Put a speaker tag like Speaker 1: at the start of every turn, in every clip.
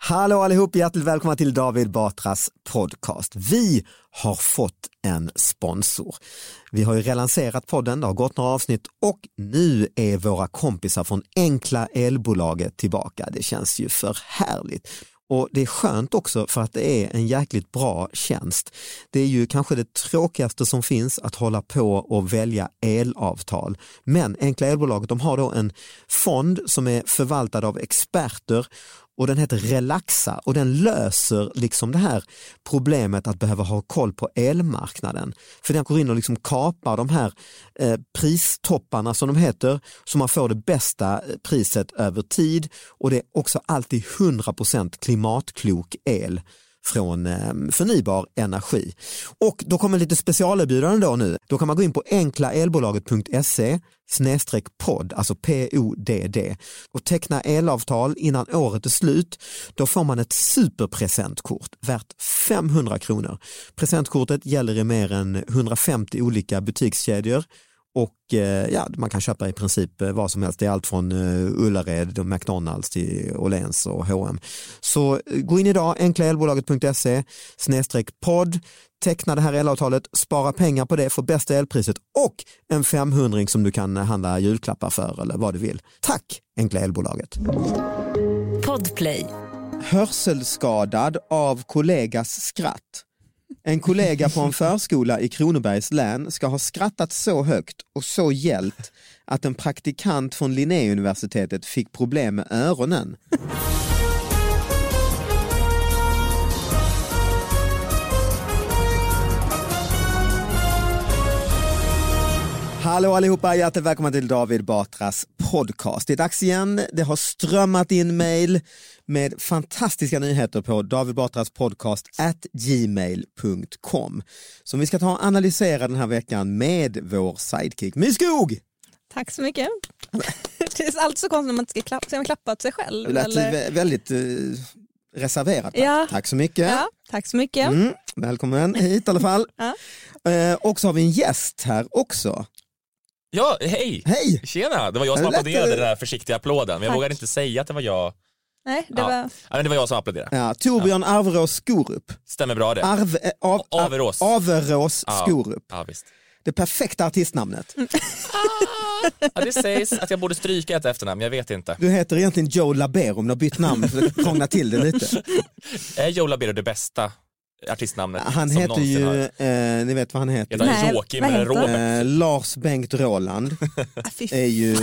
Speaker 1: Hallå allihop, hjärtligt välkomna till David Batras podcast. Vi har fått en sponsor. Vi har ju relanserat podden, det har gått några avsnitt och nu är våra kompisar från Enkla elbolaget tillbaka. Det känns ju för härligt. Och det är skönt också för att det är en jäkligt bra tjänst. Det är ju kanske det tråkigaste som finns att hålla på och välja elavtal. Men Enkla elbolaget de har då en fond som är förvaltad av experter och den heter Relaxa och den löser liksom det här problemet att behöva ha koll på elmarknaden. För den går in och liksom kapar de här eh, pristopparna som de heter så man får det bästa eh, priset över tid och det är också alltid 100% klimatklok el från eh, förnybar energi. Och då kommer lite specialerbjudande då nu. Då kan man gå in på enklaelbolaget.se snedstreck podd, alltså P-O-D-D och teckna elavtal innan året är slut. Då får man ett superpresentkort värt 500 kronor. Presentkortet gäller i mer än 150 olika butikskedjor och eh, ja, man kan köpa i princip eh, vad som helst. Det är allt från eh, Ullared, och McDonalds till Åhléns och H&M. Så eh, gå in idag, enklaelbolaget.se snedstreck podd, teckna det här elavtalet, spara pengar på det, få bästa elpriset och en 500 som du kan eh, handla julklappar för eller vad du vill. Tack Enkla Elbolaget!
Speaker 2: Podplay.
Speaker 1: hörselskadad av kollegas skratt. En kollega på en förskola i Kronobergs län ska ha skrattat så högt och så gällt att en praktikant från Linnéuniversitetet fick problem med öronen. Hallå allihopa, hjärtligt välkomna till David Batras podcast. Det är dags igen, det har strömmat in mail med fantastiska nyheter på David Batras podcast at gmail.com som vi ska ta och analysera den här veckan med vår sidekick My Skog!
Speaker 3: Tack så mycket. Det är alltid så konstigt när man inte ska klappa, så har man klappat sig själv.
Speaker 1: Det lät
Speaker 3: eller?
Speaker 1: vä- väldigt eh, reserverat. tack.
Speaker 3: Ja.
Speaker 1: Tack så mycket.
Speaker 3: Ja, tack så mycket.
Speaker 1: Mm, välkommen hit i alla fall.
Speaker 3: Ja.
Speaker 1: Eh, och så har vi en gäst här också.
Speaker 4: Ja, hej!
Speaker 1: Hej!
Speaker 4: Tjena! Det var jag som
Speaker 1: Lätt,
Speaker 4: applåderade
Speaker 1: eller?
Speaker 4: den här försiktiga applåden, men jag
Speaker 3: Tack.
Speaker 4: vågade inte säga att det var jag.
Speaker 3: Nej, det
Speaker 4: Ja.
Speaker 3: var...
Speaker 4: Ja, men det var jag som applåderade.
Speaker 1: Ja, Torbjörn Arverås Skorup.
Speaker 4: Stämmer bra det.
Speaker 1: Arv, eh, av,
Speaker 4: Averås.
Speaker 1: Averås
Speaker 4: Ja.
Speaker 1: Skorup.
Speaker 4: Ja, visst.
Speaker 1: Det perfekta artistnamnet.
Speaker 4: Ja, det sägs att jag borde stryka ett efternamn, jag vet inte.
Speaker 1: Du heter egentligen Joe Labero men du har bytt namn för att krångla till det lite.
Speaker 4: Är Joe Labero det bästa artistnamnet
Speaker 1: Ah, Han
Speaker 4: som
Speaker 1: heter
Speaker 4: någonsin
Speaker 1: ju,
Speaker 4: har...
Speaker 1: eh, ni vet vad han heter?
Speaker 4: Heter han
Speaker 3: Nej,
Speaker 4: Joakim
Speaker 3: vad
Speaker 4: eller
Speaker 3: heter han?
Speaker 4: Robert?
Speaker 1: Eh, Lars Bengt Roland
Speaker 3: Ah, fy
Speaker 1: är ju,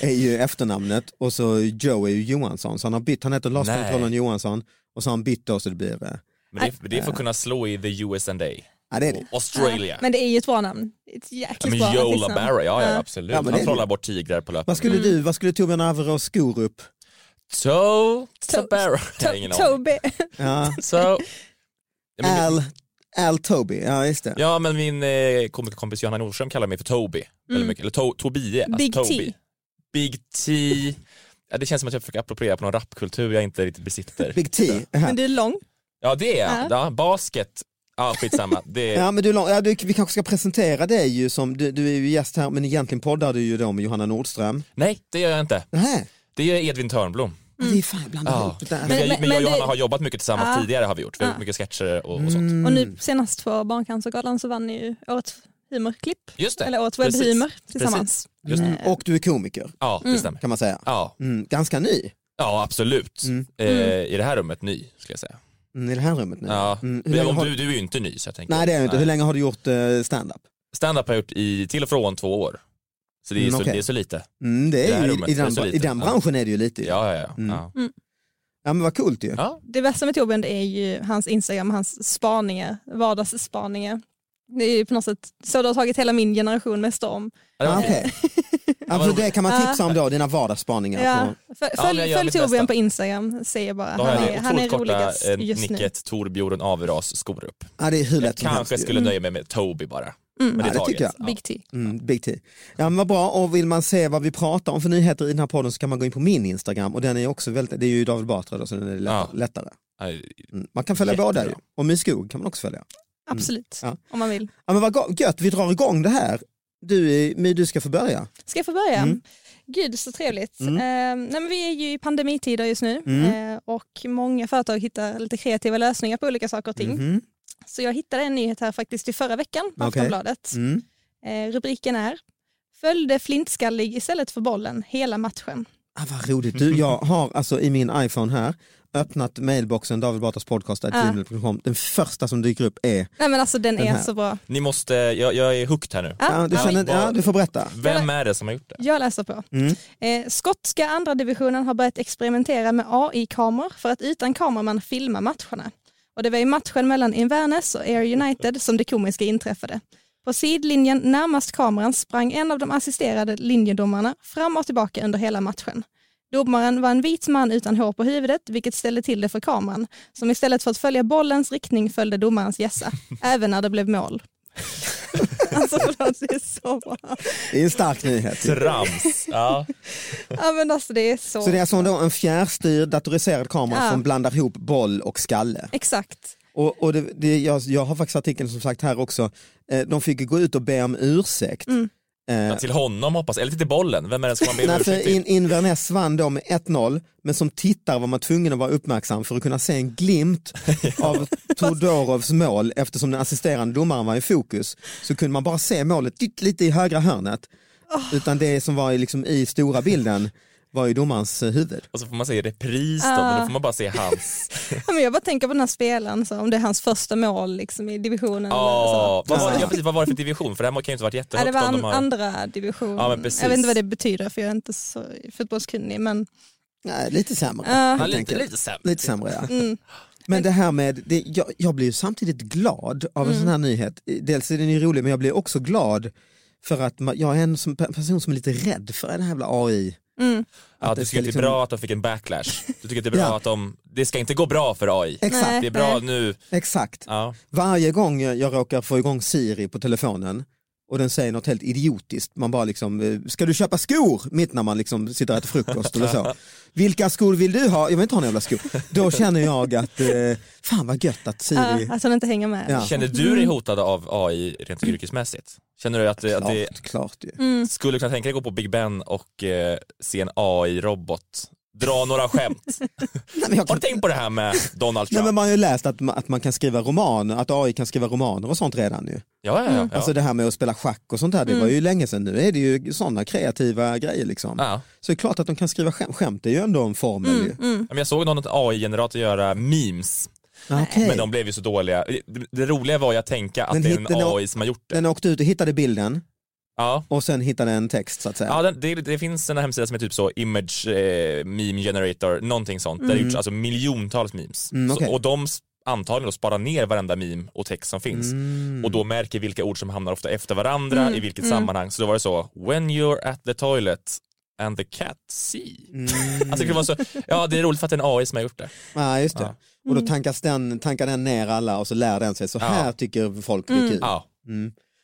Speaker 1: är ju efternamnet och så Joe är ju Johansson så han har bytt, han heter Lars
Speaker 4: Nej.
Speaker 1: Bengt Roland Johansson och så har han bytt då så det blir, eh,
Speaker 4: Men det, är- det är för att kunna slå i the US and A.
Speaker 1: ja det är det.
Speaker 4: Australia.
Speaker 3: Men det är ju ett bra namn. Ett
Speaker 4: Ja,
Speaker 3: jäkligt
Speaker 4: men
Speaker 3: bra
Speaker 4: Joe
Speaker 3: artistnamn. Ah.
Speaker 4: Labero, ja, ja
Speaker 3: Ja.
Speaker 4: absolut.
Speaker 1: Ja, men det är
Speaker 4: han
Speaker 1: det.
Speaker 4: trollar bort tigrar på löpande.
Speaker 1: Vad skulle du, vad skulle Torbjörn Averås Skorup?
Speaker 4: Toe...
Speaker 3: To-
Speaker 4: Labero. Jag har ingen
Speaker 3: To-
Speaker 4: aning.
Speaker 3: Tobe.
Speaker 1: Ja,
Speaker 4: So... Ja, men-
Speaker 1: Al, Al Toby, ja just det.
Speaker 4: Ja men min eh, komikerkompis Johanna Nordström kallar mig för Toby. Väldigt mycket. Eller to- Tobie. alltså
Speaker 3: Big
Speaker 4: Toby.
Speaker 3: T.
Speaker 4: Big T. Ja, det känns som att jag försöker appropriera på någon rapkultur jag inte riktigt besitter.
Speaker 1: Big T. Ja.
Speaker 3: Men du är lång.
Speaker 4: Ja det är jag. Ja, basket. Ja skitsamma. Det är...
Speaker 1: Ja, men du, la- ja, du, vi kanske ska presentera dig ju som, du, du är ju gäst här men egentligen poddar du ju då med Johanna Nordström.
Speaker 4: Nej det gör jag inte.
Speaker 1: Nej,
Speaker 4: Det gör Edvin Törnblom.
Speaker 1: det är fan bland
Speaker 4: Mm. Ja.
Speaker 1: ihop det där.
Speaker 4: Men,
Speaker 3: men-
Speaker 4: jag, men jag
Speaker 3: men
Speaker 4: och Johanna
Speaker 3: det-
Speaker 4: har jobbat mycket tillsammans
Speaker 3: Ja.
Speaker 4: tidigare har vi gjort. Vi har
Speaker 3: Ja.
Speaker 4: gjort mycket sketcher och, och sånt.
Speaker 3: Och
Speaker 1: Mm.
Speaker 3: nu senast på Barncancergalan så vann ni ju årets humorklipp,
Speaker 4: Just det.
Speaker 3: eller årets
Speaker 4: Precis.
Speaker 3: webbhumor tillsammans.
Speaker 4: Just det.
Speaker 1: Mm, Och du är komiker
Speaker 4: Ja det stämmer.
Speaker 1: kan man säga.
Speaker 4: Ja,
Speaker 1: Mm, ganska ny
Speaker 4: ja absolut. Eh, I det här rummet ny skulle jag säga.
Speaker 1: mm, i det här rummet nu.
Speaker 4: Ja.
Speaker 1: Mm, hur
Speaker 4: Men
Speaker 1: länge
Speaker 4: om
Speaker 1: har...
Speaker 4: du, du är ju inte ny så jag tänker.
Speaker 1: Nej det är du inte. Hur länge har du gjort eh, stand-up?
Speaker 4: Stand-up har jag gjort i, till och från två år. Så det är,
Speaker 1: Mm,
Speaker 4: så,
Speaker 1: okej.
Speaker 4: det är så lite.
Speaker 1: Mm, det
Speaker 4: Det
Speaker 1: är
Speaker 4: här
Speaker 1: ju,
Speaker 4: rummet,
Speaker 1: i,
Speaker 4: det är
Speaker 1: den,
Speaker 4: så
Speaker 1: i
Speaker 4: lite.
Speaker 1: den
Speaker 4: Ja.
Speaker 1: branschen är det ju lite ju.
Speaker 4: Ja, ja, ja.
Speaker 1: Mm.
Speaker 4: ja.
Speaker 1: Ja, men vad coolt ju.
Speaker 4: Ja.
Speaker 3: Det värsta med Torbjörn det är ju hans Instagram, hans spaningar, vardagsspaningar. Det är ju på något sätt så det har tagit hela min generation med storm.
Speaker 4: Ja, det var-
Speaker 1: Ah, okej. ja, för det kan man tipsa om då, dina vardagsspaningar.
Speaker 3: Ja.
Speaker 1: På...
Speaker 3: Följ,
Speaker 4: Ja, men jag
Speaker 3: följ,
Speaker 4: gör mitt
Speaker 3: Torbjörn
Speaker 4: bästa.
Speaker 3: på Instagram, säger jag bara.
Speaker 4: Då
Speaker 3: Han
Speaker 4: har jag
Speaker 3: är,
Speaker 4: det
Speaker 3: han är
Speaker 4: otroligt korta
Speaker 3: roligast
Speaker 4: eh,
Speaker 3: just nu.
Speaker 4: nicket Torbjörn Averas Skorup.
Speaker 1: Ja, det är hur lätt som helst.
Speaker 4: Kanske
Speaker 1: ju.
Speaker 4: skulle nöja mig med Toby bara. Men
Speaker 1: Mm. Ja, det tycker jag.
Speaker 4: Ja.
Speaker 3: Big T.
Speaker 1: Mm, Big T. Ja men vad bra och vill man se vad vi pratar om för nyheter i den här podden så kan man gå in på min Instagram och den är också väldigt, det är ju David Batra då så den är lätt,
Speaker 4: Ja.
Speaker 1: lättare.
Speaker 4: Nej,
Speaker 1: Mm. Man kan följa
Speaker 4: Jättebra.
Speaker 1: båda ju och My Skog kan man också följa.
Speaker 4: Mm.
Speaker 3: Absolut,
Speaker 1: Ja.
Speaker 3: om man vill.
Speaker 1: Ja men vad go- gött, vi drar igång det här. Du My, du ska få börja.
Speaker 3: Ska jag få börja?
Speaker 1: Mm.
Speaker 3: Gud så trevligt.
Speaker 1: Mm.
Speaker 3: Eh, nej, men vi är ju i pandemitider just nu
Speaker 1: Mm.
Speaker 3: eh, och många företag hittar lite kreativa lösningar på olika saker och ting.
Speaker 4: Mm-hmm.
Speaker 1: Mhm.
Speaker 3: Så jag hittade en nyhet här faktiskt i förra veckan på
Speaker 1: Okej.
Speaker 3: Aftonbladet.
Speaker 1: Mm.
Speaker 3: Eh, rubriken är Följde flintskallig istället för bollen hela matchen.
Speaker 1: Ah, vad roligt. Du, jag har alltså i min iPhone här öppnat mailboxen David Batras podcast
Speaker 3: Ja.
Speaker 1: gmail.com. Den första som dyker upp är,
Speaker 3: Nej men alltså den,
Speaker 1: Den
Speaker 3: är
Speaker 1: här.
Speaker 3: så bra.
Speaker 4: Ni måste, jag, jag är hooked här nu.
Speaker 3: Ja,
Speaker 1: ja, du,
Speaker 3: ja,
Speaker 1: känner, ja, du får berätta.
Speaker 4: Vem är det som har gjort det?
Speaker 3: Jag läser på.
Speaker 1: Mm.
Speaker 3: Eh, skotska andra divisionen har börjat experimentera med AI-kameror för att utan kameraman filma matcherna. Och det var i matchen mellan Inverness och Air United som det komiska inträffade. På sidlinjen närmast kameran sprang en av de assisterade linjedomarna fram och tillbaka under hela matchen. Domaren var en vit man utan hår på huvudet, vilket ställde till det för kameran, som istället för att följa bollens riktning följde domarens gässa, även när det blev mål. alltså förlåt, det är så bra.
Speaker 1: Det är en stark nyhet. ju.
Speaker 4: Trams. Ja.
Speaker 3: Ja, men alltså, det är så,
Speaker 1: Så det är alltså då en fjärrstyrd datoriserad kamera
Speaker 3: Ja.
Speaker 1: som blandar ihop boll och skalle.
Speaker 3: Exakt.
Speaker 1: Och, och det, det, jag, jag har faktiskt artikeln som sagt här också, eh, de fick ju gå ut och be om ursäkt.
Speaker 3: Mm.
Speaker 4: Ja, Till honom hoppas Eller till bollen. Vem är det som man ber om
Speaker 1: Eh. Nej,
Speaker 4: ursäkt
Speaker 1: för
Speaker 4: till?
Speaker 1: in, Inverness vann då med 1-0, men som tittare var man tvungen att vara uppmärksam för att kunna se en glimt av Todorovs mål eftersom den assisterande domaren var i fokus. Så kunde man bara se målet dit, lite i högra hörnet. Utan det som var i, liksom, i stora bilden var ju domarens eh, huvud.
Speaker 4: Och så får man se repris då, men
Speaker 1: Ah.
Speaker 4: då får man bara se hans.
Speaker 3: Ja, men jag bara tänker på den här spelaren, så om det är hans första mål liksom, i divisionen. eller
Speaker 4: Ja,
Speaker 3: så.
Speaker 4: vad, var, ja, precis, vad var det för division? För det här kan ju inte ha varit
Speaker 3: Ja,
Speaker 4: jättehögt.
Speaker 3: det var
Speaker 4: om
Speaker 3: an-
Speaker 4: de har-
Speaker 3: andra division.
Speaker 4: Ja, men precis.
Speaker 3: jag vet inte vad det betyder för jag är inte så fotbollskunnig. Men,
Speaker 1: Nej, lite sämre.
Speaker 3: Ja.
Speaker 1: helt
Speaker 4: Ja, lite,
Speaker 1: enkelt.
Speaker 4: lite sämre.
Speaker 1: Lite sämre ja. Men det här med, det, jag, jag blir ju samtidigt glad av en sån här nyhet. Dels är den ju rolig men jag blir också glad för att man, jag är en som, person som är lite rädd för den här jävla AI.
Speaker 4: Ja,
Speaker 1: Att
Speaker 4: du
Speaker 1: det
Speaker 4: tycker
Speaker 1: ska
Speaker 4: att det
Speaker 1: liksom-
Speaker 4: är bra att de fick en backlash. Du tycker att det är bra
Speaker 1: Ja.
Speaker 4: att de, det ska inte gå bra för AI.
Speaker 1: Exakt,
Speaker 3: Nej.
Speaker 4: Det är bra nu,
Speaker 1: exakt.
Speaker 4: ja.
Speaker 1: Varje gång jag, jag råkar få igång Siri på telefonen och den säger något helt idiotiskt, man bara liksom, eh, ska du köpa skor? Mitt när man liksom sitter och äter frukost eller så. Vilka skor vill du ha? Jag vill inte ha några jävla skor. Då känner jag att, eh, fan vad gött att Siri
Speaker 3: ja, äh, att han inte hänger med.
Speaker 1: Ja. Mm.
Speaker 4: Känner du dig hotad av AI rent yrkesmässigt? Känner du att, det- att det
Speaker 1: Klart, Mm. klart ju.
Speaker 4: Mm. skulle kunna tänka dig gå på Big Ben och eh, se en AI-robot dra några skämt?
Speaker 1: Nej, men jag
Speaker 4: Har
Speaker 1: kan-
Speaker 4: du tänkt på det här med Donald
Speaker 1: Nej,
Speaker 4: Trump?
Speaker 1: men man har ju läst att, ma- att man kan skriva romaner, att AI kan skriva romaner och sånt redan ju.
Speaker 4: Ja, ja, Mm. ja. ja.
Speaker 1: Alltså det här med att spela schack och sånt där, det var ju länge sedan. Nu är det ju sådana kreativa grejer liksom.
Speaker 4: ja. Mm,
Speaker 1: Så det är klart att de kan skriva skämt, skämt är ju ändå en formel ju.
Speaker 4: Ja, Men jag såg någon AI-generator göra memes,
Speaker 1: Ah, okej.
Speaker 4: men de blev ju så dåliga. Det- Det roliga var ju att tänka att
Speaker 1: Men
Speaker 4: det är
Speaker 1: hittade
Speaker 4: en
Speaker 1: de-
Speaker 4: AI som har gjort det.
Speaker 1: Den åkte ut och hittade bilden
Speaker 4: Ja.
Speaker 1: och sen hittade en text så att säga.
Speaker 4: Ja, den, det, det finns en hemsida som är typ så image eh, meme generator, någonting sånt, där det gjorts alltså miljontals memes.
Speaker 1: Mm, okej.
Speaker 4: så, och de s- antagligen då sparar ner varenda meme och text som finns
Speaker 1: Mm.
Speaker 4: och då märker vilka ord som hamnar ofta efter varandra i vilket sammanhang. Så då var det så, when you're at the toilet and the cat see.
Speaker 1: Mm.
Speaker 4: Alltså det var så, ja det är roligt för att det är en AI som har gjort det. Mm.
Speaker 1: Ja, just det. Och då tankas den, tankar den ner alla och så lär den sig, så här tycker folk det är kul.
Speaker 4: Mm. Ja.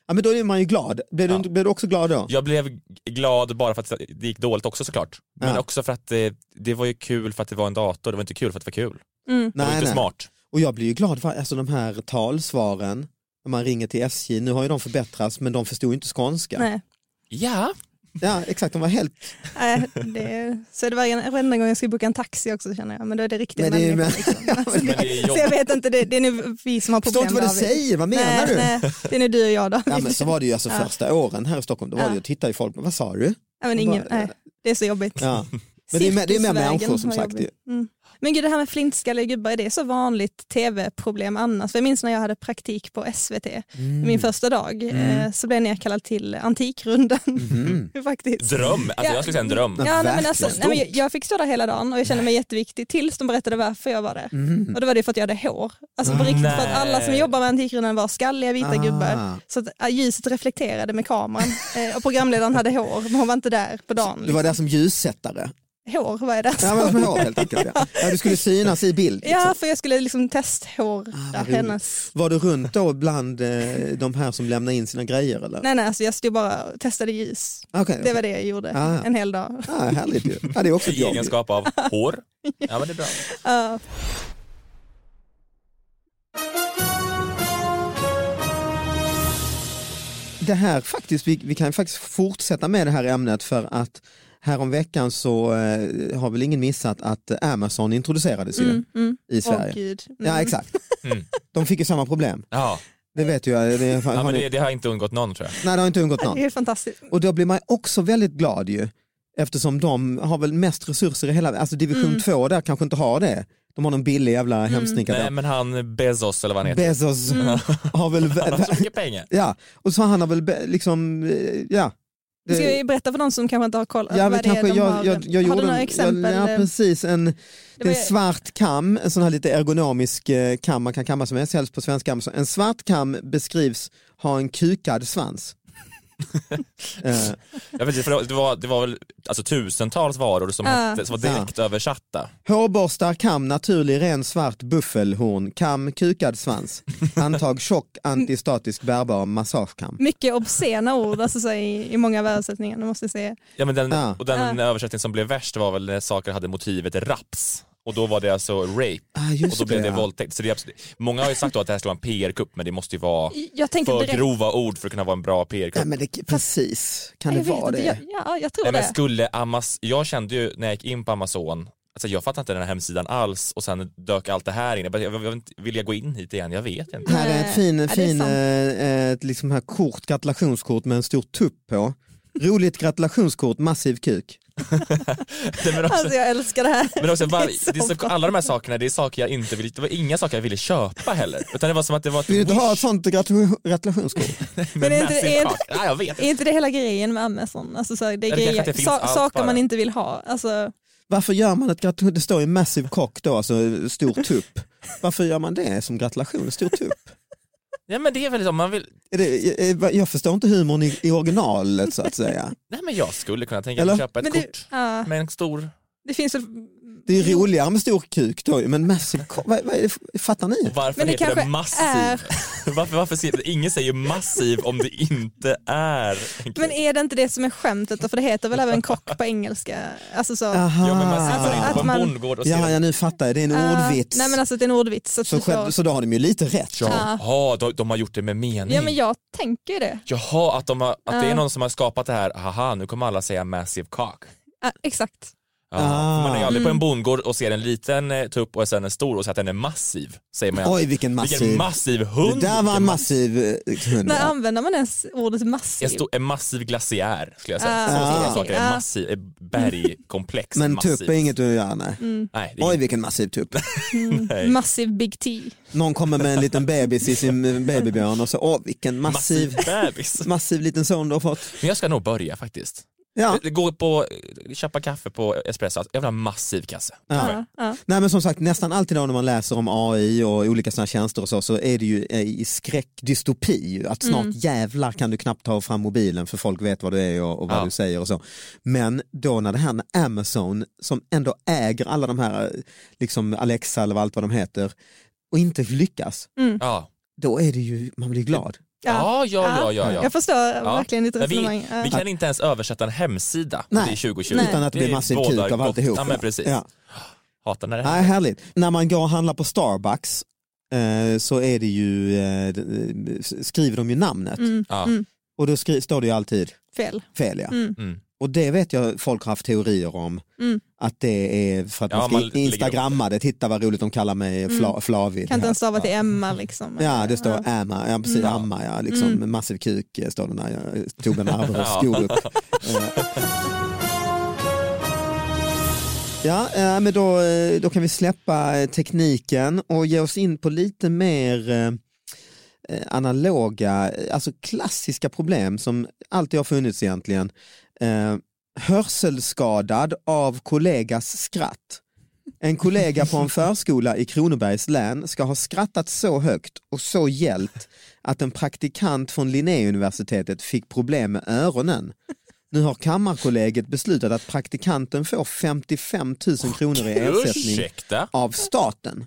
Speaker 1: Ja, men då är man ju glad. Blir,
Speaker 4: Ja.
Speaker 1: du, blir du också glad då?
Speaker 4: Jag blev g- glad bara för att det gick dåligt också såklart. Men
Speaker 1: Ja.
Speaker 4: också för att det, det var ju kul för att det var en dator, det var inte kul för att det var kul.
Speaker 3: Mm.
Speaker 4: det var inte smart.
Speaker 1: Och jag blir ju glad för alltså, de här talsvaren, när man ringer till SJ, nu har ju de förbättrats men de förstod ju inte skånska.
Speaker 3: Nej.
Speaker 4: Ja.
Speaker 1: Ja, exakt, de var helt...
Speaker 3: Nej, det är, så det var en, varenda gång jag skulle boka en taxi också känner jag, men då är det riktigt
Speaker 1: Men det är ju-
Speaker 3: människor, liksom. alltså,
Speaker 1: men
Speaker 4: det är
Speaker 3: det, Så
Speaker 4: jobbigt.
Speaker 3: jag vet inte, det, det är nu vi som har
Speaker 1: Förstår
Speaker 3: problem
Speaker 1: inte vad du
Speaker 3: David.
Speaker 1: säger, vad menar
Speaker 3: nej,
Speaker 1: du?
Speaker 3: Nej, det är nu du och jag David.
Speaker 1: Ja, men så var det ju alltså
Speaker 3: Ja.
Speaker 1: första åren här i Stockholm, då var
Speaker 3: Ja.
Speaker 1: det ju, tittade ju folk, vad sa du?
Speaker 3: Ja, men ingen,
Speaker 1: Bara-
Speaker 3: nej, det är så jobbigt.
Speaker 1: Ja. Men det är mer- det är mer
Speaker 3: Cirkusvägen
Speaker 1: människor som
Speaker 3: var
Speaker 1: sagt
Speaker 3: jobbig. Mm. Men gud det här med flintskalliga gubbar, är det så vanligt tv-problem annars? För jag minns när jag hade praktik på SVT,
Speaker 1: Mm.
Speaker 3: min första dag, eh, så blev jag nerkallad till Antikrundan.
Speaker 1: Mhm.
Speaker 3: Faktiskt.
Speaker 4: Dröm, alltså jag skulle säga en dröm.
Speaker 1: Ja.
Speaker 3: Ja, nej, men
Speaker 1: Verkligen.
Speaker 3: alltså, nej, men jag- jag fick stå där hela dagen och jag kände mig jätteviktig tills de berättade varför jag var där.
Speaker 1: Mhm.
Speaker 3: Och då var det för att jag hade hår. Alltså på riktigt, för att alla som
Speaker 4: Nej.
Speaker 3: jobbar med Antikrundan var skalliga vita
Speaker 1: Ah.
Speaker 3: gubbar. Så att ja, ljuset reflekterade med kameran eh, och programledaren hade hår men hon var inte där på dagen. Liksom.
Speaker 1: Du var där som ljussättare.
Speaker 3: Hår var jag där
Speaker 1: Ja, men som hår helt enkelt. Ja. Ja, du skulle synas i bild. Liksom.
Speaker 3: Ja, för jag skulle liksom testhår
Speaker 1: Ah,
Speaker 3: där
Speaker 1: vad roligt.
Speaker 3: hennes.
Speaker 1: Var du runt då bland eh, de här som lämnar in sina grejer eller?
Speaker 3: Nej, nej, alltså jag stod bara och testade ljus.
Speaker 1: Okej, okej.
Speaker 3: Det var det jag gjorde
Speaker 1: Ah.
Speaker 3: en hel dag.
Speaker 1: Ja, härligt ju. Ja, det är också ett
Speaker 4: I
Speaker 1: jobb. ju.
Speaker 4: egenskap av hår. Ja men det är bra.
Speaker 3: Ja.
Speaker 1: Det här faktiskt, vi, vi kan faktiskt fortsätta med det här ämnet för att häromveckan så eh, har väl ingen missat att Amazon introducerades ju
Speaker 3: Mm, mm.
Speaker 1: i
Speaker 3: Åh
Speaker 1: Sverige.
Speaker 3: gud. Mm.
Speaker 1: ja exakt.
Speaker 4: Mm.
Speaker 1: De fick ju samma problem.
Speaker 4: Ja,
Speaker 1: Det vet ju jag. Det, har
Speaker 4: ja men
Speaker 1: ni-
Speaker 4: det, det har inte undgått någon tror jag.
Speaker 1: Nej det har inte undgått
Speaker 3: Ja,
Speaker 1: någon.
Speaker 3: Det är fantastiskt.
Speaker 1: Och då blir man också väldigt glad ju. Eftersom de har väl mest resurser i hela, alltså division
Speaker 3: Mm.
Speaker 1: 2 där kanske inte har det. De har någon billig jävla hemsnickardag.
Speaker 4: Nej men han Bezos eller vad han heter.
Speaker 1: Bezos
Speaker 3: Mm.
Speaker 1: har väl...
Speaker 4: Han har så mycket pengar.
Speaker 1: Ja, och så han har väl be- liksom, eh, ja. Det-
Speaker 3: Ska vi berätta för någon som kanske inte har koll?
Speaker 1: Ja,
Speaker 3: vad
Speaker 1: men
Speaker 3: det är
Speaker 1: kanske
Speaker 3: de
Speaker 1: jag,
Speaker 3: har,
Speaker 1: jag, jag
Speaker 3: har
Speaker 1: gjorde
Speaker 3: du några
Speaker 1: en,
Speaker 3: exempel?
Speaker 1: Jag, ja, precis. En, det
Speaker 3: var
Speaker 1: är en
Speaker 3: ju-
Speaker 1: svart kam, en sån här lite ergonomisk eh, kam man kan kamma som helst, helst på svenska Amazon. En svart kam beskrivs ha en kukad svans. Eh,
Speaker 4: Jag vet, inte, för det, var, det var väl alltså, tusentals varor som,
Speaker 3: Ja.
Speaker 4: hette, som var direkt översatta.
Speaker 1: Hårborstar, kam, naturlig, ren, svart, buffelhorn, kam, kukad svans. Antag tjock, antistatisk, bärbar, massagekam.
Speaker 3: Mycket obscena ord alltså, så i, i många av översättningarna måste jag säga.
Speaker 4: Ja, men den,
Speaker 1: Ja.
Speaker 4: Och den översättning som blev värst var väl när saker hade motivet raps. Och då var det alltså rape
Speaker 1: Ah,
Speaker 4: och
Speaker 1: just
Speaker 4: då blev det
Speaker 1: ja.
Speaker 4: våldtäkt. Så det är absolut, många har ju sagt då att det här ska vara en PR-kupp men det måste ju vara
Speaker 3: Jag tänker
Speaker 4: för
Speaker 3: direkt...
Speaker 4: grova ord för att kunna vara en bra
Speaker 1: Nej,
Speaker 4: PR-kupp.
Speaker 1: men det, precis, kan
Speaker 3: jag
Speaker 1: det
Speaker 3: vet
Speaker 1: vara
Speaker 3: inte,
Speaker 1: det?
Speaker 3: Jag, ja, jag tror
Speaker 4: Nej, men
Speaker 3: det.
Speaker 4: skulle Amaz- jag kände ju när jag gick in på Amazon, alltså jag fattade inte den här hemsidan alls och sen dök allt det här in. Jag, bara, jag, jag, vet inte, vill jag gå in hit igen? Jag vet inte.
Speaker 1: Här är ett fin,
Speaker 3: Ja, det är
Speaker 1: fin
Speaker 3: sant.
Speaker 1: eh, ett liksom här kort, gratulationskort med en stor tupp på. Roligt gratulationskort, massiv kuk.
Speaker 4: Nej, men också,
Speaker 3: Alltså jag älskar det här.
Speaker 4: men också var, det
Speaker 3: så
Speaker 4: är så,
Speaker 3: bra.
Speaker 4: alla de här sakerna, det är saker jag inte vill, det var inga saker jag ville köpa heller. Utan det var som att det var ett
Speaker 1: Vill du inte ha
Speaker 4: wish.
Speaker 1: ett sånt gratulation- gratulationskort?
Speaker 4: Men
Speaker 3: Men är inte-
Speaker 4: massive
Speaker 3: är
Speaker 4: cock. Nej, jag vet
Speaker 3: Är inte det hela grejen med Amazon? Alltså, så här, det är
Speaker 4: Ja, det kanske
Speaker 3: grejer,
Speaker 4: inte finns
Speaker 3: sa-
Speaker 4: allt
Speaker 3: saker man
Speaker 4: bara.
Speaker 3: inte vill ha. Alltså,
Speaker 1: Varför gör man ett gratulation? Det står ju massiv kock då, alltså stor tupp. Varför gör man det som gratulation, stor tupp?
Speaker 4: Ja men det är väl om man vill,
Speaker 1: Är det, är- jag förstår inte humorn i, i originalet så att säga.
Speaker 4: nej men jag skulle kunna tänka mig
Speaker 1: Eller?
Speaker 4: att köpa ett
Speaker 3: men det,
Speaker 4: kort
Speaker 3: ja,
Speaker 4: med en stor,
Speaker 3: det finns väl...
Speaker 1: Det är ju roligare med stor kuk då, men massiv kock, vad, vad är det, fattar ni?
Speaker 4: och varför
Speaker 3: Men det
Speaker 4: heter det
Speaker 3: kanske
Speaker 4: massiv?
Speaker 3: är-
Speaker 4: varför, varför ser, ingen säger massiv om det inte är en
Speaker 3: Men
Speaker 4: kuk.
Speaker 3: är det inte det som är skämtet? För det heter väl även kock på engelska? Alltså så.
Speaker 1: Aha.
Speaker 4: Ja men man sitter
Speaker 3: Alltså,
Speaker 4: inte på
Speaker 3: att
Speaker 4: en
Speaker 3: man-
Speaker 4: bondgård och ser,
Speaker 1: ja,
Speaker 4: ja,
Speaker 1: ja, nu fattar jag, det är en
Speaker 3: Ah,
Speaker 1: ordvits.
Speaker 3: Nej men alltså det är en ordvits. Så, att
Speaker 1: så,
Speaker 3: du
Speaker 1: själv,
Speaker 3: får-
Speaker 1: så då har de ju lite rätt.
Speaker 4: jaha de, de har gjort det med mening.
Speaker 3: Ja men jag tänker ju det.
Speaker 4: Jaha, att, de har, att det
Speaker 3: Ja.
Speaker 4: är någon som har skapat det här, haha nu kommer alla säga massive cock.
Speaker 3: Ja, Ah, exakt.
Speaker 1: Ah.
Speaker 4: Ja, för Man är ju aldrig på
Speaker 3: Mm.
Speaker 4: en bondgård och ser en liten eh, tupp och sen en stor och säger att den är massiv. Säger man ju
Speaker 1: Oj vilken massiv.
Speaker 4: Vilken massiv
Speaker 1: Det
Speaker 4: hund!
Speaker 1: där var
Speaker 4: Vilken
Speaker 1: en
Speaker 4: massiv-
Speaker 1: massiv eh, hund.
Speaker 3: När
Speaker 1: ja.
Speaker 3: använder man ens ordet massiv?
Speaker 4: En, stor, en massiv glaciär skulle jag säga.
Speaker 3: Typ. Ah,
Speaker 4: Så stora
Speaker 1: okej.
Speaker 4: saker,
Speaker 3: Ah.
Speaker 4: en massiv en bergkomplex.
Speaker 1: Men Mm.
Speaker 4: massiv.
Speaker 1: tupp är inget att göra nej.
Speaker 4: Nej, det är
Speaker 1: Oj
Speaker 4: inget.
Speaker 1: vilken massiv tupp.
Speaker 4: Nej.
Speaker 3: Massiv Big T.
Speaker 1: Någon kommer med en liten bebis i sin eh, babybjörn och så, åh vilken massiv,
Speaker 4: massiv bebis.
Speaker 1: massiv liten son du har fått.
Speaker 4: Men jag ska nog börja faktiskt.
Speaker 1: Ja.
Speaker 4: Gå på, köpa kaffe på espresso, jag vill ha en massiv kasse.
Speaker 3: Ja. Ja.
Speaker 1: Nej men som sagt nästan alltid då när man läser om AI och olika sådana tjänster och så, så är det ju eh, i skräckdystopi ju, att snart jävlar kan du knappt ta fram mobilen för folk vet vad du är och, och vad
Speaker 4: Ja.
Speaker 1: du säger och så. Men då när det här med Amazon som ändå äger alla de här, eh, liksom Alexa eller allt vad de heter och inte lyckas,
Speaker 4: Mm. Ja.
Speaker 1: då är det ju, man blir glad.
Speaker 4: Ja, ja, ja, ja, ja.
Speaker 3: Jag förstår verkligen ditt
Speaker 4: Men vi,
Speaker 3: resonemang. Ah, Ja.
Speaker 4: vi kan inte ens översätta en hemsida
Speaker 1: Nej,
Speaker 4: i 2020.
Speaker 3: Nej.
Speaker 1: Utan att det blir
Speaker 4: är
Speaker 1: massiv
Speaker 4: bådar
Speaker 1: kuk av
Speaker 4: gott.
Speaker 1: alltihop.
Speaker 4: Ja, men precis.
Speaker 1: Ja.
Speaker 4: Hatar när det
Speaker 1: Nej,
Speaker 4: händer.
Speaker 1: härligt. När man går och handlar på Starbucks eh, så är det ju, eh, d- s- skriver de ju namnet
Speaker 4: Ja.
Speaker 3: Mm.
Speaker 1: och då skri- står det ju alltid
Speaker 3: Fel.
Speaker 1: fel. Ja.
Speaker 4: Mm.
Speaker 1: Och det vet jag folk har haft teorier om.
Speaker 3: Mm.
Speaker 1: Att det är för att
Speaker 4: Ja,
Speaker 1: man ska
Speaker 4: man lägger upp
Speaker 1: instagramma det. Titta vad roligt de kallar mig fla, Flavid.
Speaker 3: Mm. Kan inte
Speaker 1: här.
Speaker 3: ens stava till Emma liksom.
Speaker 1: Ja, det står amma, ja, precis, amma, ja, liksom, massiv kuk eh, står det när jag tog en Arboros skog upp. Eh. Ja, eh, men då, eh, då kan vi släppa eh, tekniken och ge oss in på lite mer eh, eh, analoga, eh, alltså klassiska problem som alltid har funnits egentligen. Eh, hörselskadad av kollegas skratt. En kollega på en förskola i Kronobergs län ska ha skrattat så högt och så gällt att en praktikant från Linnéuniversitetet fick problem med öronen. Nu har Kammarkollegiet beslutat att praktikanten får 55 000 kronor i ersättning
Speaker 4: Ursäkta?
Speaker 1: av staten.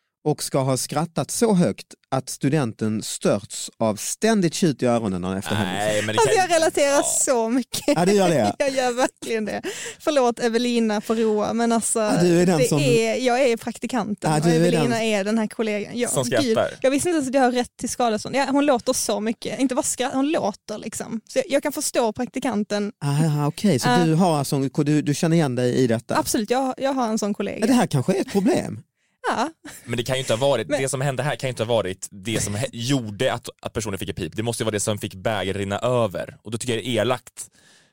Speaker 1: och ska ha skrattat så högt att studenten störts av ständigt tjut i öronen efter händelsen.
Speaker 4: Nej, men det
Speaker 3: Alltså
Speaker 4: kan
Speaker 3: jag relaterar
Speaker 4: Ja.
Speaker 3: så mycket.
Speaker 1: Ja, det gör det.
Speaker 3: Jag gör verkligen det. Förlåt Evelina på Roa men alltså
Speaker 1: du är den
Speaker 3: det
Speaker 1: som-
Speaker 3: är, jag är praktikanten
Speaker 1: Ja,
Speaker 3: och
Speaker 1: du är
Speaker 3: Evelina
Speaker 1: den-
Speaker 3: är den här kollegan. Jag,
Speaker 4: Som skrattar.
Speaker 3: jag visste inte ens att jag har rätt till skadestånd. Ja, hon låter så mycket, inte bara skratt, hon låter liksom. Så jag, jag kan förstå praktikanten,
Speaker 1: Ah, Okej, så
Speaker 3: Äh.
Speaker 1: du, har alltså, du, du känner igen dig i detta?
Speaker 3: absolut jag, jag har en sån
Speaker 1: Ja, Det
Speaker 3: kollega.
Speaker 1: här kanske är ett problem.
Speaker 3: Ja,
Speaker 4: Men det kan ju inte ha varit,
Speaker 3: Men-
Speaker 4: det som hände här kan ju inte ha varit det som hä- gjorde att, att personen fick ett pip. Det måste ju vara det som fick bägaren rinna över och då tycker jag det är elakt.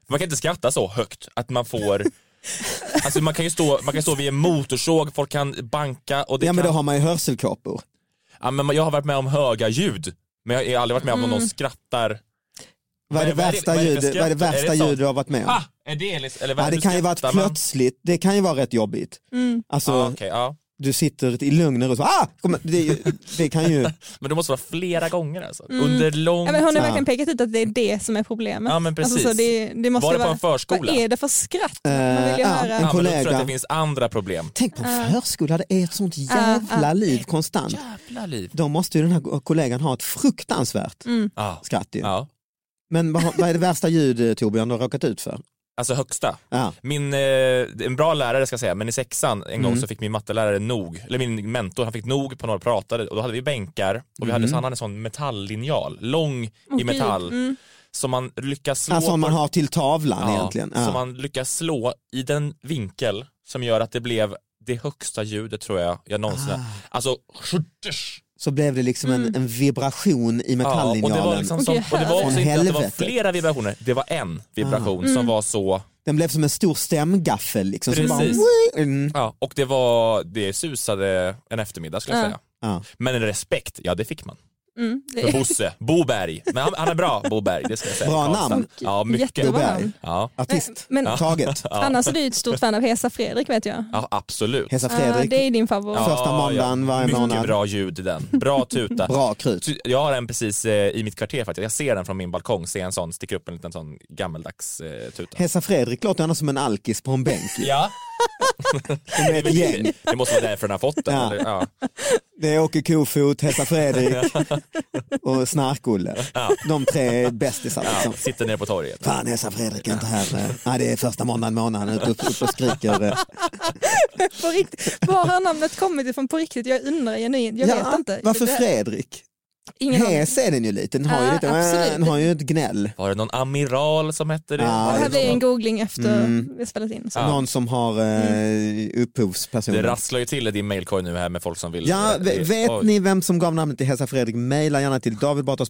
Speaker 4: För man kan inte skratta så högt att man får Alltså man kan ju stå, man kan stå vid en motorsåg, folk kan banka och det
Speaker 1: Ja,
Speaker 4: kan...
Speaker 1: men då har man ju hörselkåpor.
Speaker 4: ja, men jag har varit med om höga ljud, men jag har aldrig varit med om att
Speaker 3: Mm.
Speaker 4: någon skrattar.
Speaker 1: Vad är det
Speaker 4: Vad är-
Speaker 1: värsta
Speaker 4: vad är det för
Speaker 1: ljud, vad är det
Speaker 4: skratt? Är
Speaker 1: värsta
Speaker 4: det sånt?
Speaker 1: ljud du har varit med om?
Speaker 4: Ah, är det liksom, eller vad
Speaker 1: Ja,
Speaker 4: är
Speaker 1: det
Speaker 4: nu
Speaker 1: kan ju vara
Speaker 4: skrattar man?
Speaker 1: plötsligt, det kan ju vara rätt jobbigt. Alltså,
Speaker 4: Ja, Ah, okej, ja.
Speaker 1: du sitter i lugn och ro, så, ah! Kommer- det, är ju- det kan ju...
Speaker 4: Men det måste vara flera gånger alltså, under lång
Speaker 3: Mm. Ja, men hon
Speaker 1: Ja.
Speaker 3: har verkligen pekat ut att det är det som är problemet.
Speaker 4: Ja, men precis.
Speaker 3: Alltså, så det, det måste
Speaker 4: Var det på
Speaker 3: vara,
Speaker 4: en förskola?
Speaker 3: Vad är det för skratt? Man vill ju
Speaker 1: Eh, ja,
Speaker 3: höra.
Speaker 1: en
Speaker 4: Ja, men då tror jag
Speaker 1: kollega.
Speaker 4: att det finns andra problem.
Speaker 1: Tänk på en förskola, det är ett sånt jävla liv konstant.
Speaker 4: Jävla liv.
Speaker 1: Då måste ju den här kollegan ha ett fruktansvärt
Speaker 4: Ja.
Speaker 1: skratt ju.
Speaker 4: Ja.
Speaker 1: Men vad, har- vad är det värsta ljud eh, Torbjörn du har råkat ut för?
Speaker 4: Alltså högsta.
Speaker 1: Ja.
Speaker 4: Min, eh, en bra lärare ska jag säga, men i sexan en
Speaker 1: Mm.
Speaker 4: gång så fick min mattelärare nog, eller min mentor, han fick nog på några pratade och då hade vi bänkar och vi
Speaker 1: Mm.
Speaker 4: hade, så han hade en sån metalllinjal, lång i metall, som man lyckas slå
Speaker 1: Alltså om Mm. man
Speaker 4: på-
Speaker 1: har till tavlan
Speaker 4: ja,
Speaker 1: egentligen. Ja.
Speaker 4: Som man lyckas slå i den vinkel som gör att det blev det högsta ljudet tror jag jag någonsin
Speaker 1: Ah.
Speaker 4: har, alltså
Speaker 1: Så blev det liksom en, en vibration i
Speaker 4: Ja, och det
Speaker 1: metalllinjalen.
Speaker 4: var, liksom som,
Speaker 3: Åh, gud,
Speaker 4: och det var
Speaker 1: Från
Speaker 4: också inte att det
Speaker 1: helvete.
Speaker 4: var
Speaker 1: Ah. Mm.
Speaker 4: flera vibrationer, det var en vibration som var så
Speaker 1: Den blev som en stor stämgaffel. Liksom, som bara...
Speaker 4: Precis.
Speaker 1: Mm.
Speaker 4: Ja, och det var, det susade en eftermiddag skulle jag säga.
Speaker 1: Ja.
Speaker 4: Men en respekt, ja det fick man.
Speaker 3: Mm, det
Speaker 4: För Bosse, Boberg. Men han, han är bra, Boberg, det ska jag säga.
Speaker 1: Bra
Speaker 4: Karlstad.
Speaker 1: namn.
Speaker 4: Ja, mycket.
Speaker 3: Jättebra
Speaker 1: Boberg.
Speaker 3: namn.
Speaker 4: Ja,
Speaker 1: Artist.
Speaker 3: Men
Speaker 1: Taget.
Speaker 3: annars är Alltså, du ju ett stort fan av Hesa Fredrik vet jag.
Speaker 4: ja absolut.
Speaker 1: Hesa
Speaker 3: Ja,
Speaker 1: Fredrik.
Speaker 3: Ah, det är din favorit.
Speaker 4: Ja,
Speaker 1: Första måndagen varje
Speaker 4: mycket
Speaker 1: månad.
Speaker 4: bra ljud i den, bra tuta.
Speaker 1: Bra krut.
Speaker 4: Så Jag har en precis eh, i mitt kvarter faktiskt, jag ser den från min balkong, ser en sån, sticker upp en liten sån gammeldags eh, tuta.
Speaker 1: Hesa Fredrik låter annars som en alkis på en bänk.
Speaker 4: Ja,
Speaker 1: De är ett gäng.
Speaker 4: Det måste vara därför den har fått den.
Speaker 1: Ja.
Speaker 4: Eller, ja.
Speaker 1: Det är Åke Kofot, Hesa Fredrik och Snark-Olle. De tre är bästisar.
Speaker 4: Ja.
Speaker 1: Liksom.
Speaker 4: Sitter nere på torget.
Speaker 1: Fan Hesa Fredrik är inte här. Nej, det är första måndagen i månaden. Han är ute upp och skriker. eh,
Speaker 3: På riktigt. Var har namnet kommit ifrån på riktigt? Jag undrar genuint, jag vet inte.
Speaker 1: Varför
Speaker 3: Det-
Speaker 1: Fredrik?
Speaker 3: Ingen aning.
Speaker 1: Hes är den ju lite. Den har, ju,
Speaker 3: Ja,
Speaker 1: lite,
Speaker 3: absolut.
Speaker 1: den har ju ett gnäll.
Speaker 4: Var det någon amiral som hette det?
Speaker 1: Ja,
Speaker 3: Det här
Speaker 1: det
Speaker 3: blir en googling efter
Speaker 1: Mm.
Speaker 3: vi har spelat in. Så.
Speaker 4: Ja.
Speaker 1: Någon som har eh,
Speaker 3: Mm.
Speaker 1: upphovsperson.
Speaker 4: Det rasslar ju till i din mailkorg nu här med folk som vill...
Speaker 1: Ja,
Speaker 4: eh,
Speaker 1: v- vet
Speaker 4: oj.
Speaker 1: ni vem som gav namnet till Hesa Fredrik? Maila gärna till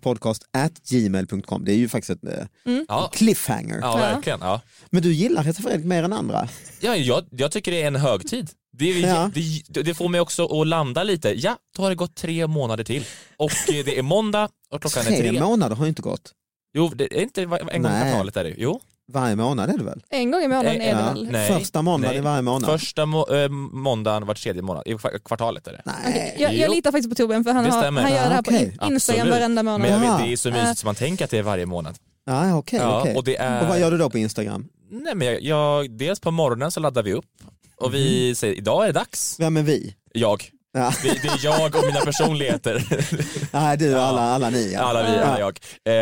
Speaker 1: davidbatraspodcast@gmail.com. Det är ju faktiskt ett eh,
Speaker 4: Ja,
Speaker 1: cliffhanger.
Speaker 4: ja verkligen. Ja.
Speaker 1: Men du gillar Hesa Fredrik mer än andra.
Speaker 4: Ja, jag, jag tycker det är en högtid. Det, är-
Speaker 1: Ja.
Speaker 4: det, det får mig också att landa lite. Ja, då har det gått tre månader till. Och eh, det är måndag och klockan är
Speaker 1: Tre
Speaker 4: tre.
Speaker 1: månader har ju inte gått.
Speaker 4: Jo, det är inte va- en gång i
Speaker 1: Nej.
Speaker 4: kvartalet är det Jo.
Speaker 1: Varje månad är det väl?
Speaker 3: En gång i månaden
Speaker 4: Nej,
Speaker 3: är det
Speaker 1: ja.
Speaker 3: väl?
Speaker 4: Eh, Nej.
Speaker 1: Första måndagen
Speaker 4: Nej.
Speaker 1: i varje månad.
Speaker 4: Första må- eh, måndagen var tredje månad. I kva- kvartalet är det.
Speaker 1: Nej.
Speaker 3: Jag, jag
Speaker 4: Jo.
Speaker 3: litar faktiskt på Torbjörn för han,
Speaker 4: Det
Speaker 3: har,
Speaker 4: stämmer.
Speaker 3: han gör det här på
Speaker 1: Okej.
Speaker 3: in- Instagram
Speaker 4: Absolut.
Speaker 3: varenda
Speaker 4: Men jag
Speaker 3: månad.
Speaker 4: vet,
Speaker 1: Aha.
Speaker 4: det är så mysigt som man tänker att det är varje månad.
Speaker 1: Ja, okej,
Speaker 4: Ja,
Speaker 1: okej.
Speaker 4: och det är-
Speaker 1: och vad gör du då på Instagram?
Speaker 4: Nej, men jag, jag, dels på morgonen så laddar vi upp och vi
Speaker 1: Mm.
Speaker 4: säger idag är det dags.
Speaker 1: Vem är vi?
Speaker 4: Jag.
Speaker 1: Ja.
Speaker 4: Det, det är jag och mina personligheter.
Speaker 1: Nej, du och alla, alla ni. Ja.
Speaker 4: Alla vi, alla jag.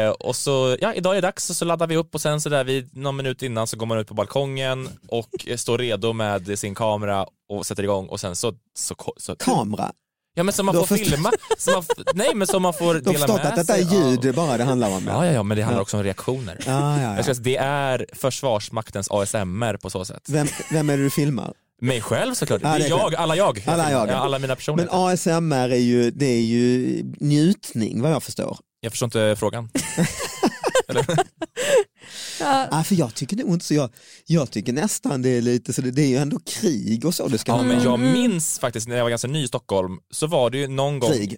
Speaker 4: Eh, och så, ja, idag är det dags och så laddar vi upp och sen så där vid någon minut innan så går man ut på balkongen och eh, står redo med sin kamera och sätter igång och sen så... så, ko- så
Speaker 1: Kamera.
Speaker 4: ja men så man
Speaker 1: Då
Speaker 4: får
Speaker 1: förstår-
Speaker 4: filma, så man, f- nej men så man får
Speaker 1: Du har
Speaker 4: dela
Speaker 1: förstått
Speaker 4: med
Speaker 1: att detta är
Speaker 4: sig av-
Speaker 1: ljud det bara det handlar om.
Speaker 4: Ja, ja, ja, men det handlar
Speaker 1: Ja.
Speaker 4: också om reaktioner.
Speaker 1: Ja, ja,
Speaker 4: Jag ska
Speaker 1: ja.
Speaker 4: säga, det är Försvarsmaktens ASMR på så sätt.
Speaker 1: Vem, vem är det du filmar?
Speaker 4: Mig själv såklart,
Speaker 1: Ja,
Speaker 4: det
Speaker 1: det
Speaker 4: är
Speaker 1: är
Speaker 4: jag,
Speaker 1: klart.
Speaker 4: alla jag.
Speaker 1: Alla jag.
Speaker 4: Ja, alla mina personer.
Speaker 1: Men ASMR är ju, det är ju njutning vad jag förstår.
Speaker 4: Jag förstår inte frågan.
Speaker 3: Ja,
Speaker 1: Ah, för jag tycker nog inte så, jag, jag tycker nästan det är lite så, det, det är ju ändå krig och så det ska
Speaker 4: Ja,
Speaker 1: vara.
Speaker 4: men jag minns faktiskt när jag var ganska ny i Stockholm så var det ju någon gång
Speaker 1: Krig.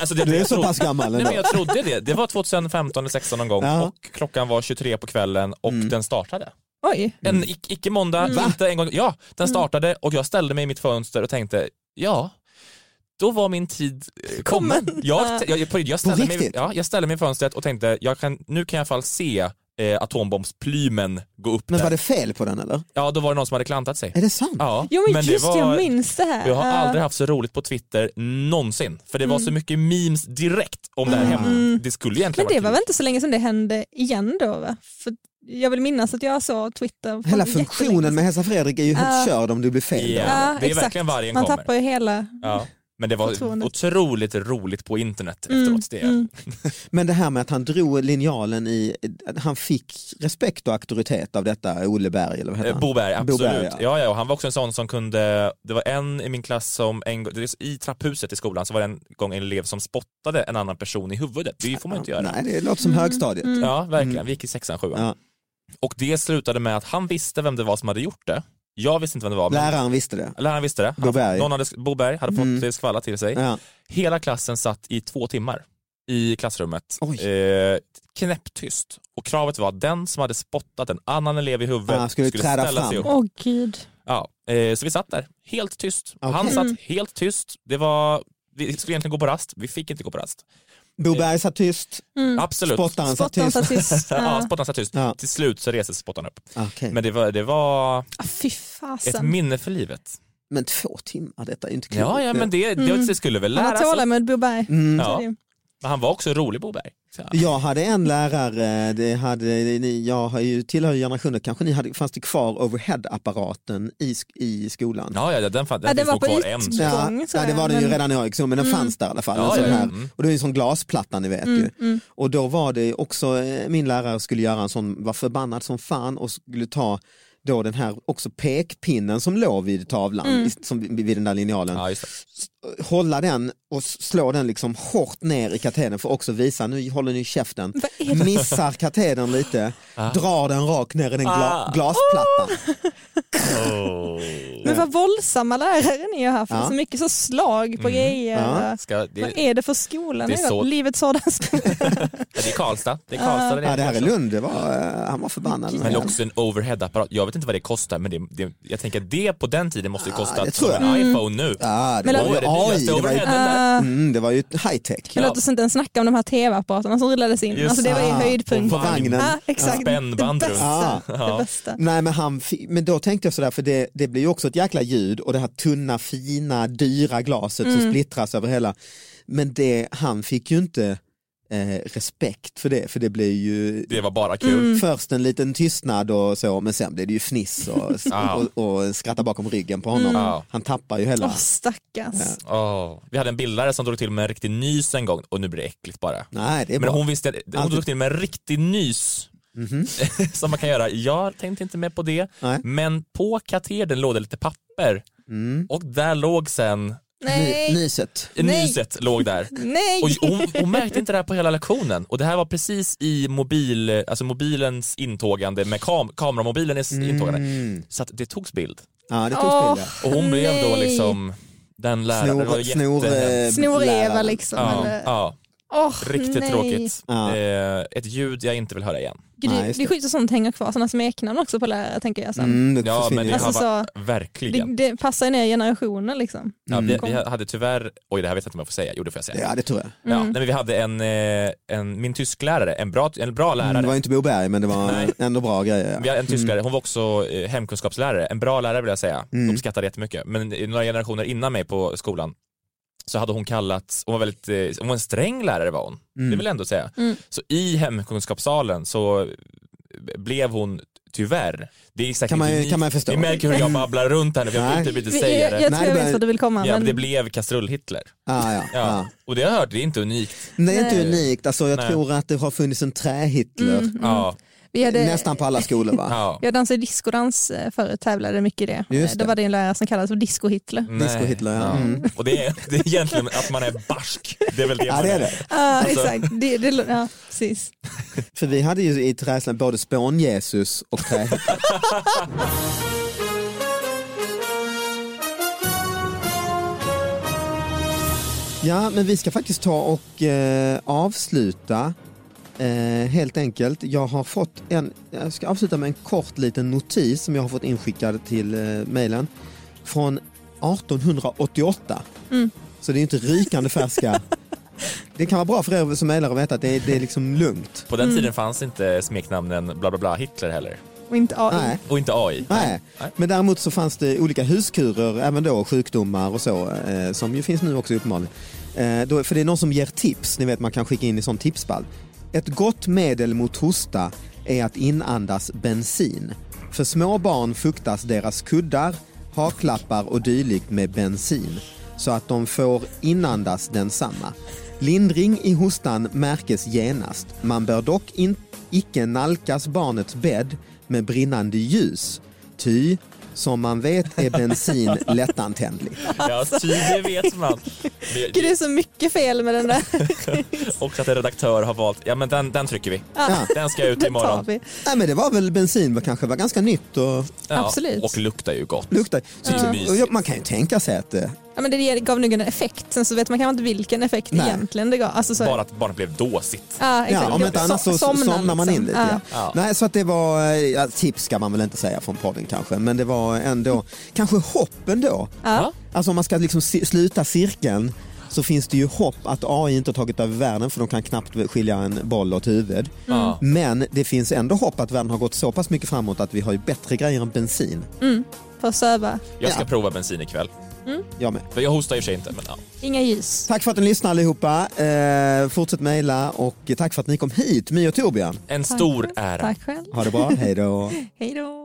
Speaker 4: Alltså det,
Speaker 1: Du är
Speaker 4: jag
Speaker 1: så
Speaker 4: trodde-
Speaker 1: pass gammal
Speaker 4: Nej,
Speaker 1: ändå.
Speaker 4: men jag trodde det. Det var 2015 eller 16 någon gång
Speaker 1: Ja. Mm.
Speaker 4: och klockan var 23 på kvällen och den startade.
Speaker 3: oj.
Speaker 4: En ic- icke måndag, inte en gång. Ja, den
Speaker 1: Mm.
Speaker 4: startade och jag ställde mig i mitt fönster och tänkte ja, då var min tid eh, kommen. Jag, jag, jag, på- jag, ställde mig,
Speaker 1: riktigt?
Speaker 4: ja, jag ställde mig i fönstret och tänkte jag kan, nu kan jag i alla fall se eh, atombombsplymen gå upp
Speaker 1: Men
Speaker 4: där.
Speaker 1: var det Mm. fel på den eller?
Speaker 4: Ja, då var det någon som hade klantat sig.
Speaker 1: Är det sant?
Speaker 4: Ja,
Speaker 3: Jo men,
Speaker 4: det
Speaker 3: just det,
Speaker 4: var-
Speaker 3: jag minns det här.
Speaker 4: jag har
Speaker 3: Ja.
Speaker 4: aldrig haft så roligt på Twitter någonsin, för det var
Speaker 3: Mm.
Speaker 4: så mycket memes direkt om det här
Speaker 1: Mm.
Speaker 4: hemma. Det skulle
Speaker 3: men
Speaker 4: egentligen
Speaker 3: det var
Speaker 4: varit
Speaker 3: väl inte så länge sedan det hände igen då va? För jag vill minnas att jag såg Twitter. från
Speaker 1: Hela
Speaker 3: jättelänge
Speaker 1: funktionen med Hesa Fredrik är ju helt körd om du blir fel. då.
Speaker 4: kul. Ja,
Speaker 3: Ja,
Speaker 4: det är
Speaker 3: exakt.
Speaker 4: verkligen vargen
Speaker 3: Man
Speaker 4: kommer.
Speaker 3: tappar ju hela...
Speaker 4: Ja. Men det var
Speaker 3: Förtroendet. Mm,
Speaker 4: otroligt roligt på internet efteråt. Det.
Speaker 1: Men det här med att han drog linjalen i, att han fick respekt och auktoritet av detta Olle Berg eller vad heter
Speaker 4: Eh,
Speaker 1: han?
Speaker 4: Boberg, absolut.
Speaker 1: Boberg, ja.
Speaker 4: ja. Ja, och han var också en sån som kunde, det var en i min klass som en gång, det är i trapphuset i skolan så var det en gång en elev som spottade en annan person i huvudet. Det får man inte göra.
Speaker 1: Nej, det låter som
Speaker 3: Mm.
Speaker 1: högstadiet.
Speaker 4: Ja, verkligen. Vi gick i sexan, sjuan.
Speaker 1: Ja.
Speaker 4: Och det slutade med att han visste vem det var som hade gjort det. Jag visste inte vem det var. men-
Speaker 1: Läraren visste det.
Speaker 4: Läraren visste det. Han,
Speaker 1: Boberg.
Speaker 4: Någon hade, Boberg hade fått mm. skvalla till sig.
Speaker 1: Ja.
Speaker 4: Hela klassen satt i två timmar i klassrummet,
Speaker 1: Oj.
Speaker 4: eh, knäpptyst. Och kravet var att den som hade spottat en annan elev i huvudet
Speaker 1: Ah, skulle
Speaker 4: skulle,
Speaker 1: träda
Speaker 4: ställa sig upp.
Speaker 1: fram.
Speaker 3: Åh gud.
Speaker 4: Ja, eh, så vi satt där, helt tyst. Han
Speaker 1: Okej.
Speaker 3: Mm.
Speaker 4: satt helt tyst. Det var, vi skulle egentligen gå på rast, vi fick inte gå på rast.
Speaker 1: Boberg satt tyst,
Speaker 3: Mm.
Speaker 4: Absolut.
Speaker 1: spottaren satt
Speaker 3: Spottaren
Speaker 1: tyst.
Speaker 3: satt tyst.
Speaker 4: Ja,
Speaker 3: Ja.
Speaker 4: spottaren satt tyst.
Speaker 1: Ja.
Speaker 4: Till slut så reses spottaren upp.
Speaker 1: Okej.
Speaker 4: Men det var, det var
Speaker 3: Ah, Fy
Speaker 4: ett
Speaker 3: fasen.
Speaker 4: minne för livet.
Speaker 1: Men två timmar, detta är ju inte klokt.
Speaker 4: Ja, ja men det, det, det skulle väl
Speaker 3: Mm. Han har
Speaker 4: lära sig.
Speaker 3: tålamod Boberg.
Speaker 1: Mm.
Speaker 4: Ja. Men han var också rolig Boberg. Så-
Speaker 1: Jag hade en lärare, det hade, ni, jag har ju tillhör ju generationer, kanske ni hade, fanns det kvar overhead-apparaten i, sk- i skolan?
Speaker 4: Ja, ja, den, fan, den
Speaker 3: Ja, det
Speaker 4: finns
Speaker 3: var
Speaker 4: nog
Speaker 3: på
Speaker 4: kvar
Speaker 3: it-
Speaker 4: än.
Speaker 1: Ja,
Speaker 3: Gång,
Speaker 1: ja,
Speaker 3: tror
Speaker 1: det
Speaker 3: jag,
Speaker 1: var den ju
Speaker 3: men-
Speaker 1: redan när jag gick så, men den fanns där i alla fall.
Speaker 4: Ja,
Speaker 1: en sån
Speaker 4: ja, ja.
Speaker 1: här.
Speaker 4: Mm.
Speaker 1: Och det är en sån glasplatta ni vet ju. Och då var det också, eh, min lärare skulle göra en sån, var förbannad som fan och skulle ta då den här också pekpinnen som låg vid tavlan, i- som, vid vid den där linjalen.
Speaker 4: Ja, just det.
Speaker 1: Hålla den och s- slå den liksom hårt ner i katedern för att också visa, nu håller ni käften.
Speaker 3: Vad är det?
Speaker 1: Missar katedern lite, drar den rakt ner i den gla,
Speaker 3: Ah.
Speaker 1: glasplattan.
Speaker 3: Oh! Men vad våldsamma lärare ni har haft.
Speaker 1: Ja.
Speaker 3: Så mycket så slag på grejer.
Speaker 4: Ska, det,
Speaker 3: Vad är det för skola
Speaker 4: det
Speaker 3: ni
Speaker 4: är
Speaker 3: har
Speaker 4: så-
Speaker 3: gått? Livets hårda skola.
Speaker 4: Ja, det är Karlstad. Det är Karlstad det
Speaker 1: Ja, det här är
Speaker 4: Karlstad.
Speaker 1: Lund, det var, eh, han var förbannad.
Speaker 4: Men också en overhead-apparat. Jag vet inte vad det kostar men det, det, jag tänker att det på den tiden måste ju kosta
Speaker 1: det tror
Speaker 4: som en iPhone nu.
Speaker 1: Ja, det
Speaker 3: Mm. Men
Speaker 1: var
Speaker 4: Då
Speaker 1: ju
Speaker 4: är det nyaste
Speaker 1: det var ju,
Speaker 4: overheaden där.
Speaker 1: mm, det var ju high tech.
Speaker 3: Men Låt oss inte ens snacka alltså, om de här tv-apparaterna som rullades in.
Speaker 4: Just
Speaker 3: alltså det var ju
Speaker 1: det.
Speaker 3: höjdpunkt.
Speaker 4: På
Speaker 1: vagnen.
Speaker 3: Ja, exakt.
Speaker 4: Spännband
Speaker 3: det
Speaker 4: runt.
Speaker 3: bästa.
Speaker 4: Ja.
Speaker 3: Det bästa.
Speaker 1: Nej men, han, fi- men då tänkte jag sådär, för det, det blir ju också ett jäkla ljud och det här tunna, fina, dyra glaset
Speaker 3: Mm.
Speaker 1: som splittras över hela. Men det, han fick ju inte eh, respekt för det, för det blir ju
Speaker 4: Det var bara
Speaker 3: Mm.
Speaker 4: kul.
Speaker 1: först en liten tystnad och så, men sen blir det ju fniss och, och, och skratta bakom ryggen på honom.
Speaker 4: Ja.
Speaker 1: Han tappar ju hela...
Speaker 3: Åh stackars.
Speaker 4: Åh. Vi hade en bildlärare som drog till med en riktig nys en gång och nu blir det äckligt bara.
Speaker 1: Nej, det är
Speaker 4: Men
Speaker 1: bra. Alltså-
Speaker 4: hon visste, hon
Speaker 1: Alltid.
Speaker 4: drog till med en riktig nys. som man kan göra. Jag tänkte inte med på det.
Speaker 1: Nej.
Speaker 4: Men på katedern låg det lite papper
Speaker 1: Mm.
Speaker 4: och där låg sen,
Speaker 1: Ny-
Speaker 3: Nej,
Speaker 1: Nyset.
Speaker 3: Nej.
Speaker 4: nyset låg där.
Speaker 3: nej.
Speaker 4: Och hon, hon märkte inte det här på hela lektionen och det här var precis i mobil, alltså mobilens intågande med kam, kameramobilens
Speaker 1: Mm.
Speaker 4: intågande. Så att det togs bild.
Speaker 1: Ja, det togs
Speaker 3: Åh,
Speaker 1: bilder.
Speaker 4: Och hon blev då
Speaker 3: nej.
Speaker 4: liksom den läraren. Det
Speaker 1: Snor,
Speaker 4: var
Speaker 1: snor,
Speaker 4: jättehemskt.
Speaker 1: eh,
Speaker 3: Snor-Eva
Speaker 1: läraren.
Speaker 3: liksom.
Speaker 4: Ja,
Speaker 3: eller-
Speaker 4: ja,
Speaker 3: Åh,
Speaker 4: riktigt
Speaker 3: nej.
Speaker 4: tråkigt.
Speaker 1: Ja.
Speaker 4: Eh, ett ljud jag inte vill höra igen.
Speaker 3: Gud,
Speaker 1: Nej,
Speaker 3: det,
Speaker 1: just
Speaker 3: det är skit att sånt hänger kvar, sådana smeknamn också på lärare tänker jag sen.
Speaker 1: Mm, det
Speaker 4: Ja, men
Speaker 1: försvinner.
Speaker 4: det
Speaker 3: Alltså,
Speaker 4: har varit,
Speaker 3: Det,
Speaker 4: verkligen.
Speaker 3: det passar ju ner generationer liksom.
Speaker 4: ja, vi, vi hade tyvärr, oj det här vet jag inte om jag får säga, jo det får jag säga.
Speaker 1: Mm. ja, det tror jag. Mm,
Speaker 4: Ja, nej, men vi hade en, eh, en min tysklärare, en bra, en bra lärare.
Speaker 1: Mm, Det var ju inte Mm. Bo Berg, men det var
Speaker 4: Nej.
Speaker 1: ändå bra grejer.
Speaker 4: Vi
Speaker 1: Ja.
Speaker 4: hade en tysklärare, hon var också eh, hemkunskapslärare, en bra lärare vill jag säga,
Speaker 1: Mm.
Speaker 4: uppskattade jättemycket. Men i några generationer innan mig på skolan så hade hon kallats, hon var väldigt, eh, hon var en sträng lärare var hon,
Speaker 1: Mm,
Speaker 4: det vill jag ändå säga. Så i hemkunskapssalen så blev hon tyvärr, det är säkert
Speaker 1: Kan man ju-
Speaker 4: unikt.
Speaker 1: kan man förstå.
Speaker 4: Ni märker hur jag babblar runt här nu för jag
Speaker 1: Nej.
Speaker 4: får typ inte
Speaker 3: Jag,
Speaker 4: säga
Speaker 3: jag,
Speaker 4: det.
Speaker 1: Nej,
Speaker 3: jag tror jag
Speaker 1: det
Speaker 3: vet
Speaker 1: var-
Speaker 3: vart du vill komma.
Speaker 4: Ja, men
Speaker 3: men
Speaker 4: det blev kastrull-Hitler.
Speaker 1: Ah, ja,
Speaker 4: Ja.
Speaker 1: ja.
Speaker 4: Och det har jag hört, det är inte unikt.
Speaker 1: Nej, det är inte unikt. Alltså, jag
Speaker 4: Nej. Mm,
Speaker 1: tror att det har funnits en trähitler
Speaker 3: Mm.
Speaker 4: Ja,
Speaker 1: Ah.
Speaker 3: vi hade,
Speaker 1: nästan på alla skolor. Va?
Speaker 4: ja.
Speaker 3: Jag dansade discodans eh, förut, tävlade mycket i det.
Speaker 1: Just
Speaker 3: Eh,
Speaker 1: det.
Speaker 3: Då var det en lärare som kallades för disco-Hitler.
Speaker 4: Nej.
Speaker 1: Disco-Hitler, ja. Mm.
Speaker 4: Och det är, det är egentligen att man är barsk. Det är väl det
Speaker 1: Ja,
Speaker 4: man
Speaker 1: det är det.
Speaker 3: Ja, Ah,
Speaker 1: Alltså.
Speaker 3: exakt. Det, det, ja, precis.
Speaker 1: För vi hade ju i träslöjden både spån-Jesus och trähitler. Ja, men vi ska faktiskt ta och eh, avsluta eh, helt enkelt. Jag har fått en, jag ska avsluta med en kort liten notis som jag har fått inskickad till eh, mejlen från 1888. Så det är ju inte rykande färska. det kan vara bra för er som mejlar att veta att det är, det är liksom lugnt.
Speaker 4: På den
Speaker 3: Mm.
Speaker 4: tiden fanns inte smeknamnen bla bla bla Hitler heller.
Speaker 3: Och inte AI.
Speaker 1: Nej.
Speaker 4: Och inte AI.
Speaker 1: Nej. men däremot så fanns det olika huskurer, även då sjukdomar och så, eh, som ju finns nu också uppenbarligen. Eh, då, för det är någon som ger tips, ni vet man kan skicka in i sån tipsspalt. Ett gott medel mot hosta är att inandas bensin. För små barn fuktas deras kuddar, haklappar och dylikt med bensin så att de får inandas densamma. Lindring i hostan märkes genast. Man bör dock in, icke nalkas barnets bädd med brinnande ljus, ty som man vet är bensin lättantändlig.
Speaker 4: Ja, ty, det vet man. Det-
Speaker 3: Alltså. Gud, det är så mycket fel med den där.
Speaker 4: Och att en redaktör har valt, ja men den, den trycker vi.
Speaker 1: Ja.
Speaker 4: Den ska
Speaker 3: Den
Speaker 4: ut
Speaker 3: tar
Speaker 4: imorgon.
Speaker 3: vi.
Speaker 1: Nej, men det var väl bensin, var kanske var ganska nytt och
Speaker 4: Ja,
Speaker 3: Absolut.
Speaker 4: Och luktar ju gott.
Speaker 1: luktar. Så,
Speaker 4: Det är ju mysigt.
Speaker 1: och ja, man kan ju tänka sig att eh,
Speaker 3: Ja, men det ger- gav nog en effekt, sen så vet man kanske inte vilken effekt
Speaker 1: Nej.
Speaker 3: egentligen det gav. Alltså, så,
Speaker 4: Bara att barnet blev dåsigt.
Speaker 3: Ja, exakt.
Speaker 1: ja, om inte
Speaker 3: Så-
Speaker 1: annars så somnar, man
Speaker 3: liksom.
Speaker 1: in lite. Ja. Nej, så att det var, eh, ja, tips ska man väl inte säga från podden kanske, men det var ändå, kanske hopp ändå.
Speaker 3: Mm.
Speaker 4: Ja.
Speaker 1: Alltså om man ska liksom ci- sluta cirkeln så finns det ju hopp att AI inte har tagit över världen för de kan knappt skilja en boll åt huvud. Men det finns ändå hopp att världen har gått så pass mycket framåt att vi har ju bättre grejer än bensin.
Speaker 3: För att söva.
Speaker 4: Jag ska
Speaker 1: Ja.
Speaker 4: prova bensin ikväll.
Speaker 1: Jag med.
Speaker 4: Jag hostar i och för sig inte men ja.
Speaker 3: Inga ljus.
Speaker 1: Tack för att ni lyssnar allihopa. Eh, fortsätt mejla och tack för att ni kom hit, My och Torbjörn.
Speaker 4: En stor ära.
Speaker 3: Tack själv.
Speaker 1: Ha det bra, hej då.
Speaker 3: Hej då.